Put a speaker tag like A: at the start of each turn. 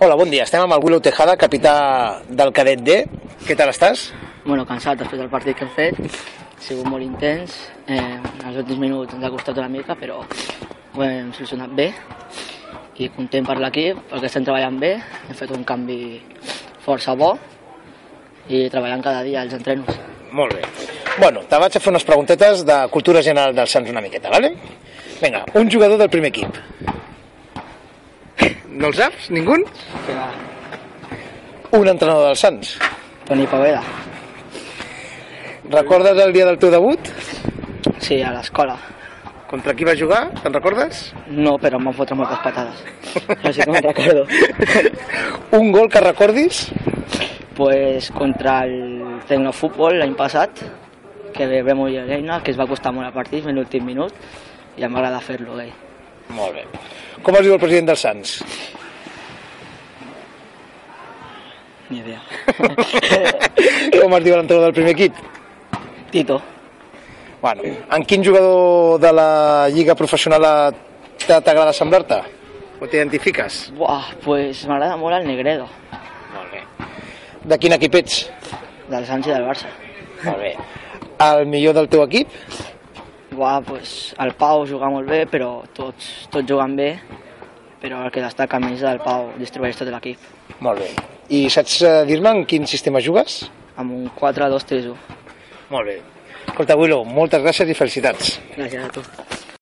A: Hola, bon dia. Estem amb el Willow Tejada, capità del cadet D. Què tal estàs?
B: Bueno, cansat després del partit que hem fet, ha sigut molt intens, eh, els últims minuts ens ha costat una mica, però ho hem solucionat bé i content per l'equip, perquè estem treballant bé, hem fet un canvi força bo i treballant cada dia els entrenos.
A: Molt bé. Bueno, te vaig a fer unes preguntetes de cultura general del Sants una miqueta, vale? Vinga, un jugador del primer equip. No el saps? Ningú?
B: Que va,
A: Un entrenador del Sants.
B: Toni Paveda,
A: Recordes el dia del teu debut?
B: sí, a l'escola.
A: Contra qui va jugar? Te'n recordes?
B: No, però em van fotre moltes patades. Això sí que me'n recordo.
A: un gol que recordis?
B: pues, contra el Tecnofútbol l'any passat, que rebem i l'Eina, que es va costar molt el partit en l'últim minut, i em va agradar fer-lo eh, ell.
A: Molt bé. Com es diu el president del Sants?
B: Ni idea.
A: Com es diu l'entrenador del primer equip?
B: Tito,
A: Bueno, en quin jugador de la lliga professional a- t'ha- t'agrada semblar-te? O t'identifiques?
B: buah, pues m'agrada molt el Negredo,
A: Molt bé. De quin equip ets?
B: del Sánchez del Barça.
A: Molt bé. El millor del teu equip?
B: Buah, pues el Pau juga molt bé, però tots, tots juguen bé, però el que destaca més del Pau distribueix tot l'equip,
A: Molt bé. I saps eh, dir-me en quin sistema jugues?
B: amb un 4-2-3-1.
A: Molt bé. Escolta, Willow, moltes gràcies i felicitats.
B: Gràcies a tu.